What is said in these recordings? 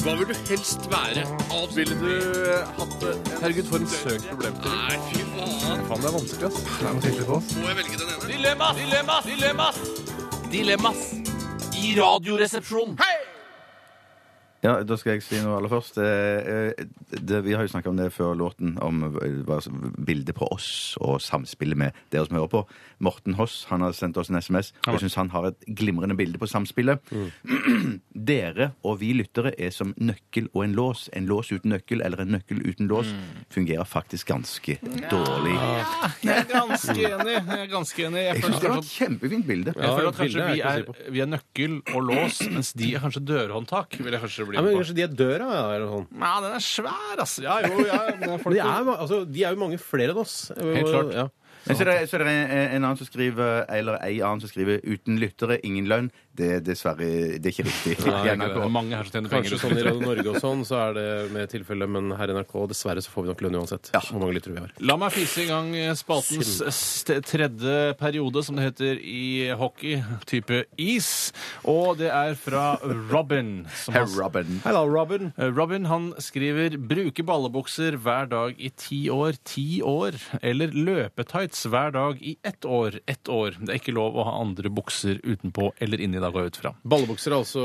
Hva vil du helst være? Ville du eh, hatt det? Herregud, for en søk problemstilling. Nei, fy faen. Faen, det er vanskelig, ass. Det er noe sikkert på oss. Må jeg velge den ene? Dilemmas! Dilemmas! Dilemmas! Dilemmas i Radioresepsjonen. Ja, Da skal jeg si noe aller først. Eh, eh, Det, vi har jo snakka om det før låten, om eh, hva som- bildet på oss og samspillet med dere som hører på. Morten Hoss han har sendt oss en SMS, og jeg syns han har et glimrende bilde på samspillet. Mm. Dere og vi lyttere er som nøkkel og en lås. En lås uten nøkkel eller en nøkkel uten lås fungerer faktisk ganske dårlig. Jeg er ganske enig. Jeg er ganske enig. Jeg Jeg føler syns det var kanskje et kjempefint bilde. Ja, Jeg føler at bildet kanskje er vi ikke er, å vi er nøkkel og lås, mens de er kanskje dørhåndtak. vil jeg kanskje bli Ja, med men på. kanskje de er døra, ja, eller sånn. Ja, den er svær, altså. Ja, jo, ja, men For de er, ma- altså, de er jo mange flere enn oss. Helt klart. Ja. Men så er det, så er det en, en annen som skriver Eller ei annen som skriver 'uten lyttere, ingen lønn'. Det er dessverre det er ikke riktig. det I er ikke NRK. det. Mange her som tjener penger. Kanskje sånn i Radio Norge og sånn, så er det med tilfelle, men her i NRK, dessverre så får vi nok lønn uansett. Hvor mange lyttere vi har. La meg fise i gang eh, spaltens st- tredje periode, som det heter i hockey, type is. Og det er fra Robin. Som Herr har- Eh, Robin. Hei da, Robin. Robin han skriver 'bruke ballebukser hver dag i ti år, ti år', eller 'løpetights hver dag i ett år, ett år'. Det er ikke lov å ha andre bukser utenpå eller inni, da går jeg ut fra. Ballebukser er altså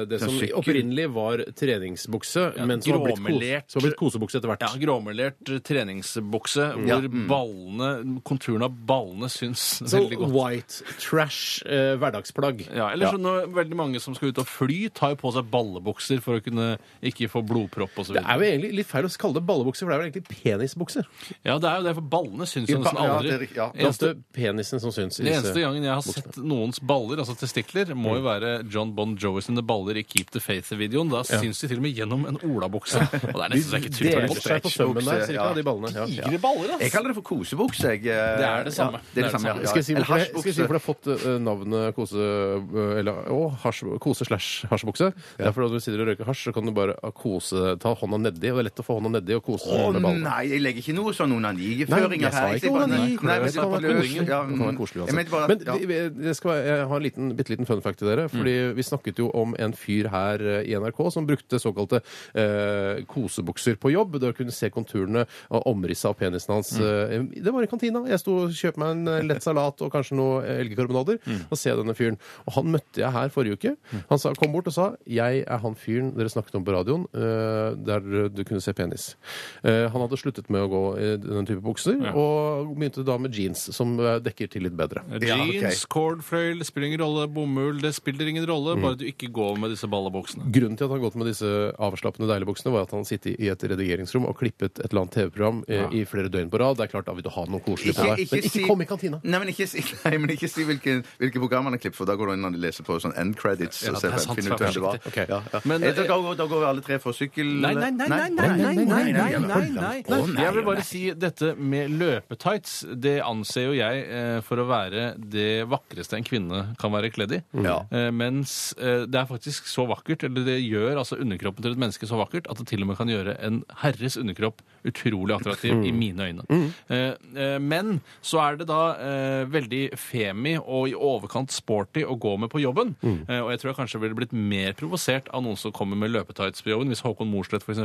eh, det som sykkel. opprinnelig var treningsbukse, men som har, blitt kos, gråmelert. som har blitt kosebukse etter hvert. Ja, Gråmelert eh, treningsbukse hvor ballene, konturen av ballene syns Så veldig godt. white trash eh, hverdagsplagg. Ja, eller så når veldig mange som skal ut og fly, tar jo på seg ballebukser for å kunne ikke få blodpropp osv. Det er jo egentlig litt feil å kalle det ballebukser, for det er vel egentlig penisbukser. Ja, det er jo det, for ballene syns jo Ja, nesten aldri. det er riktig, ja. Det er ofte penisen som syns. i Den disse- eneste gangen jeg har sett noens baller, altså testikler, må jo være John Bon Jovi sine baller i Keep the Faith-videoen. Da syns de til og med gjennom en olabukse. Og det er nesten så jeg ikke Det tror deler på det. seg på sømmen der, Stretchbukse, cirka, ja. de ballene. Ja. Ja. Digre baller, Jeg ass! kaller det for kosebukse. eh, Jeg. Det er det samme. Ja, det er det samme, ja. Skal jeg si Eller hvorfor, det- skal jeg si hasjbukse. hvorfor det har fått eh, navnet kose... eh, Eller, å, hasj, kose slash hasjbukse? Det er fordi når du sitter og røyker hasj, så kan du bare ah, kose, ta hånda nedi, og det er lett å få hånda nedi og kose Å med ballene. nei, jeg legger ikke noe sånn Mm. Nei, onaniføringer jeg sa her. ikke sier bare- onani. Nei, men Det kan jeg være bare løs. løs. Ja, mm. Det kan være koselig jeg uansett. mente bare- Men ja. vi- vi- det skal, være- jeg har en liten, bitte liten fun fact til dere. Fordi vi snakket jo om en fyr her eh, i NRK som brukte såkalte eh, kosebukser på jobb. Der du kunne se konturene og omrisset av penisen hans. Eh, det var i kantina. Jeg sto og kjøpte meg en eh, lett salat og kanskje noe eh, elgkarbonader. Og ser jeg denne fyren. Og han møtte jeg her forrige uke. Han sa, kom bort og sa jeg er han fyren dere snakket om på radioen eh, der du kunne se penis. Eh, han hadde sluttet med å gå i den type bukser, og begynte da med jeans, som eh, dekker til litt bedre. Ja, ok. Jeans, cordfløyel, det spiller ingen rolle. Bomull, det spiller ingen rolle. Bare du ikke går med disse ballebuksene. Grunnen til at han gått med disse avslappende deilige buksene, var at han sittet i et redigeringsrom og klippet et eller annet TV-program eh, i flere døgn på rad. Det er klart, da vil du ha noe koselig på deg. Men ikke si- kom i kantina. Nei, men ikke si, nei, men ikke si hvilke, hvilke program han har klippet, for da går det inn og leser på sånn end credits. Ja, det og ser er hvem- sant, finner ut hvem det var. Ok. Ja, ja. Men- Eh, da, går, da går alle tre for sykkel... Nei, nei, nei, nei, nei, nei, nei, nei, nei, nei. Å, nei, Jeg vil å, nei. bare si dette med løpetights. Det anser jo jeg eh, for å være det vakreste en kvinne kan være kledd i. Ja. Eh, Mens eh, det er faktisk så vakkert, eller det gjør altså underkroppen til et menneske så vakkert, at det til og med kan gjøre en herres underkropp utrolig attraktiv i Mm. mine øyne. Eh, eh, Men så er det da eh, veldig femi og i overkant sporty å gå med på jobben. Mm. Eh, Og jeg tror jeg kanskje ville blitt mer provosert av noen som kommer med løpetights på jobben, hvis Håkon Morsleth f.eks.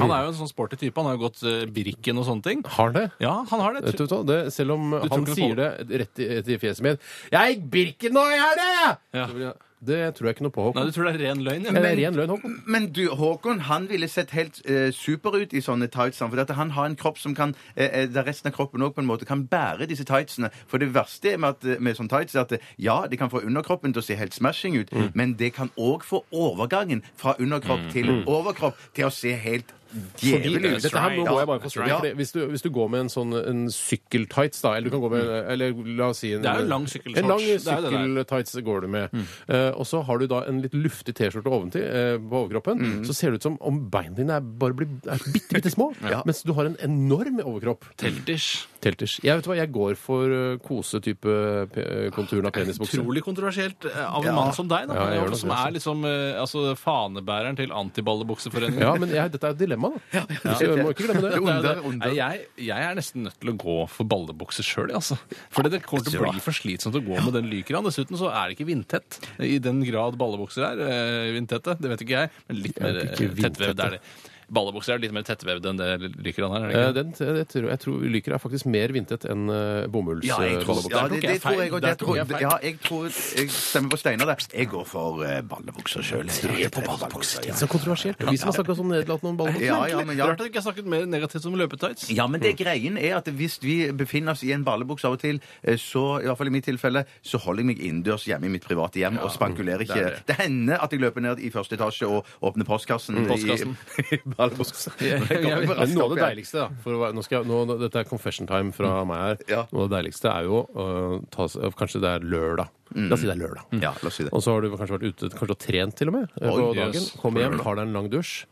Han er jo en sånn sporty type, han har jo gått eh, Birken og sånne ting. Har det? Ja, han har det. Vet du hva, det, selv om han ikke det sier det rett i, rett i fjeset mitt 'Jeg gikk Birken nå i helga!' Ja. Så vil jeg- Det tror jeg ikke noe på, Nei, Håkon. du tror det er ren løgn? ja? Det er ren løgn, Håkon. Men du, Håkon han ville sett helt eh, super ut i sånne tights. han, Fordi at han har en kropp som kan eh, eh, der resten av kroppen også på en måte kan bære disse tightsene. For det verste med, at, eh, med sånne tights er at eh, ja, de kan få underkroppen til å se helt smashing ut, men det kan òg få overgangen fra underkropp til overkropp til å se helt Fordi, djevelig ut. dette her må- må jeg bare Ja, få spørre, fordi hvis, du, hvis du går med en sånn en sykkeltights, da, eller du kan gå med en- eller la oss si en, Det er jo lang sykkelshorts. En lang Det er jo det der. sykkeltights går du med. Eh, og så har du da en litt luftig T-skjorte oventil eh, på overkroppen. Så ser det ut som om beina dine er bare blir er bitte, bitte små, mens du har en enorm overkropp. Teltish. Telters. Jeg vet hva, jeg går for eh, kose type pe- konturen av penisbukser. Utrolig kontroversielt eh, av en mann som deg, da, Ja, jeg gjør nok som det, er liksom eh, altså, fanebæreren til altså, antiballebukseforeningen. Ja, men jeg, dette er et dilemma, da. Så må ikke glemme det. Det er jo det. Under, under. Nei, Jeg, jeg er nesten nødt til å gå for ballebukse sjøl, altså. For det kommer til å bli for slitsomt å gå med den lykra. Dessuten så er det ikke vindtett. eh, I den grad ballebukser er eh, vindtette, det vet ikke jeg, men litt mer eh, ikke vindtette. tettvevd er det. Ballebukser er litt mer tettvevd enn det lykran her, er det Eh, ikke? Den, jeg, tror, jeg tror lyker er faktisk mer vintet enn eh, bomulls. Ja, jeg tror- eh, Der Ja, tok det, jeg det tror feil. jeg òg. Der Jeg, tok jeg tror- feil. ja, jeg, tror- jeg stemmer på Steinar der. Jeg går for eh, ballebukser sjøl. Tre på ballebukser. Så kontroversielt. Vi som har snakka så nedlatende om ballebukser. Ja, ja, men ja. Rart at jeg ikke har snakket mer negativt om løpetights. Ja, men det greien er at hvis vi befinner oss i en ballebukse av og til, eh, så i hvert fall i mitt tilfelle, så holder jeg meg innendørs hjemme i mitt private hjem og spankulerer ikke. det er Det, det. hender at jeg løper ned i første etasje og åpner postkassen. Postkassen. I, i ballebukse. Jeg- jeg- jeg- Men Men noe av det igjen. deiligste, da for å være, nå skal jeg, nå, nå- Dette er confession time fra meg her. Ja. Noe av det deiligste er jo øh, ta, s- øh, Kanskje det er lørdag. La oss si det er lørdag. Ja, la oss si det. Og så har du kanskje vært ute, kanskje du har trent til og med øh, på Oi, dagen. jøss. Kommer hjem, tar deg en lang dusj,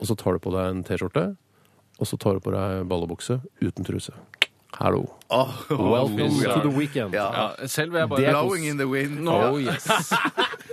og så tar du på deg en T-skjorte. Og så tar du på deg ballebukse uten truse. Hallo. Åh, Welcome to to the the weekend. Ja, Oh, ja. selv vil jeg bare Blowing in the wind. Oh, yes.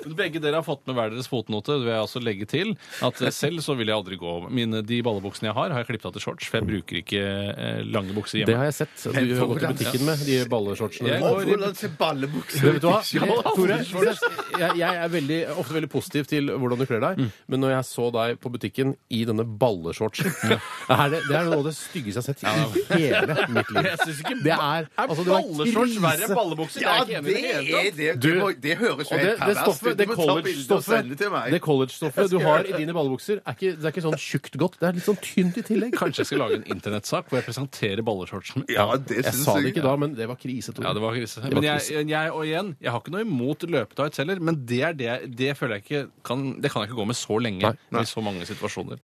Begge dere har fått med hver deres fotnote. Det vil jeg også legge til at selv så vil jeg aldri gå Mine, De ballebuksene jeg har, har jeg klippet av til shorts, for jeg bruker ikke eh, lange bukser Det hjemme. har jeg sett. Du har gått i butikken med de balleshortsene. Jeg Å, Hvordan ser ballebukser Vet du hva? Ja, Tore, jeg, jeg er veldig, ofte veldig positiv til hvordan du kler deg, Mm. men når jeg så deg på butikken i denne balleshortsen er det, det er noe av det styggeste jeg har sett i hele mitt liv. Jeg synes ikke Det er, altså, det var Balleshorts verre enn krise. ballebukser? Ja, jeg er det ikke enig i det hele er tatt. det. Du- Det, må, det høres jo Og det, helt det perverst stoffet, ut. det Du må ta bilde og college-stoffet sende til meg. det college-stoffet du har i dine ballebukser, er ikke, det er ikke sånn tjukt godt. Det er litt sånn tynt i tillegg. Kanskje jeg skal lage en internettsak hvor jeg presenterer balleshortsen. Ja, det Jeg syns sa det ikke da, men det var krise, Tore. Ja, det var krise. Det var Men jeg, krise. jeg, og igjen, jeg har ikke noe imot løpetights heller, men det er det, jeg- det føler jeg ikke kan, det kan jeg ikke gå med så lenge Nei, nei. i så mange situasjoner.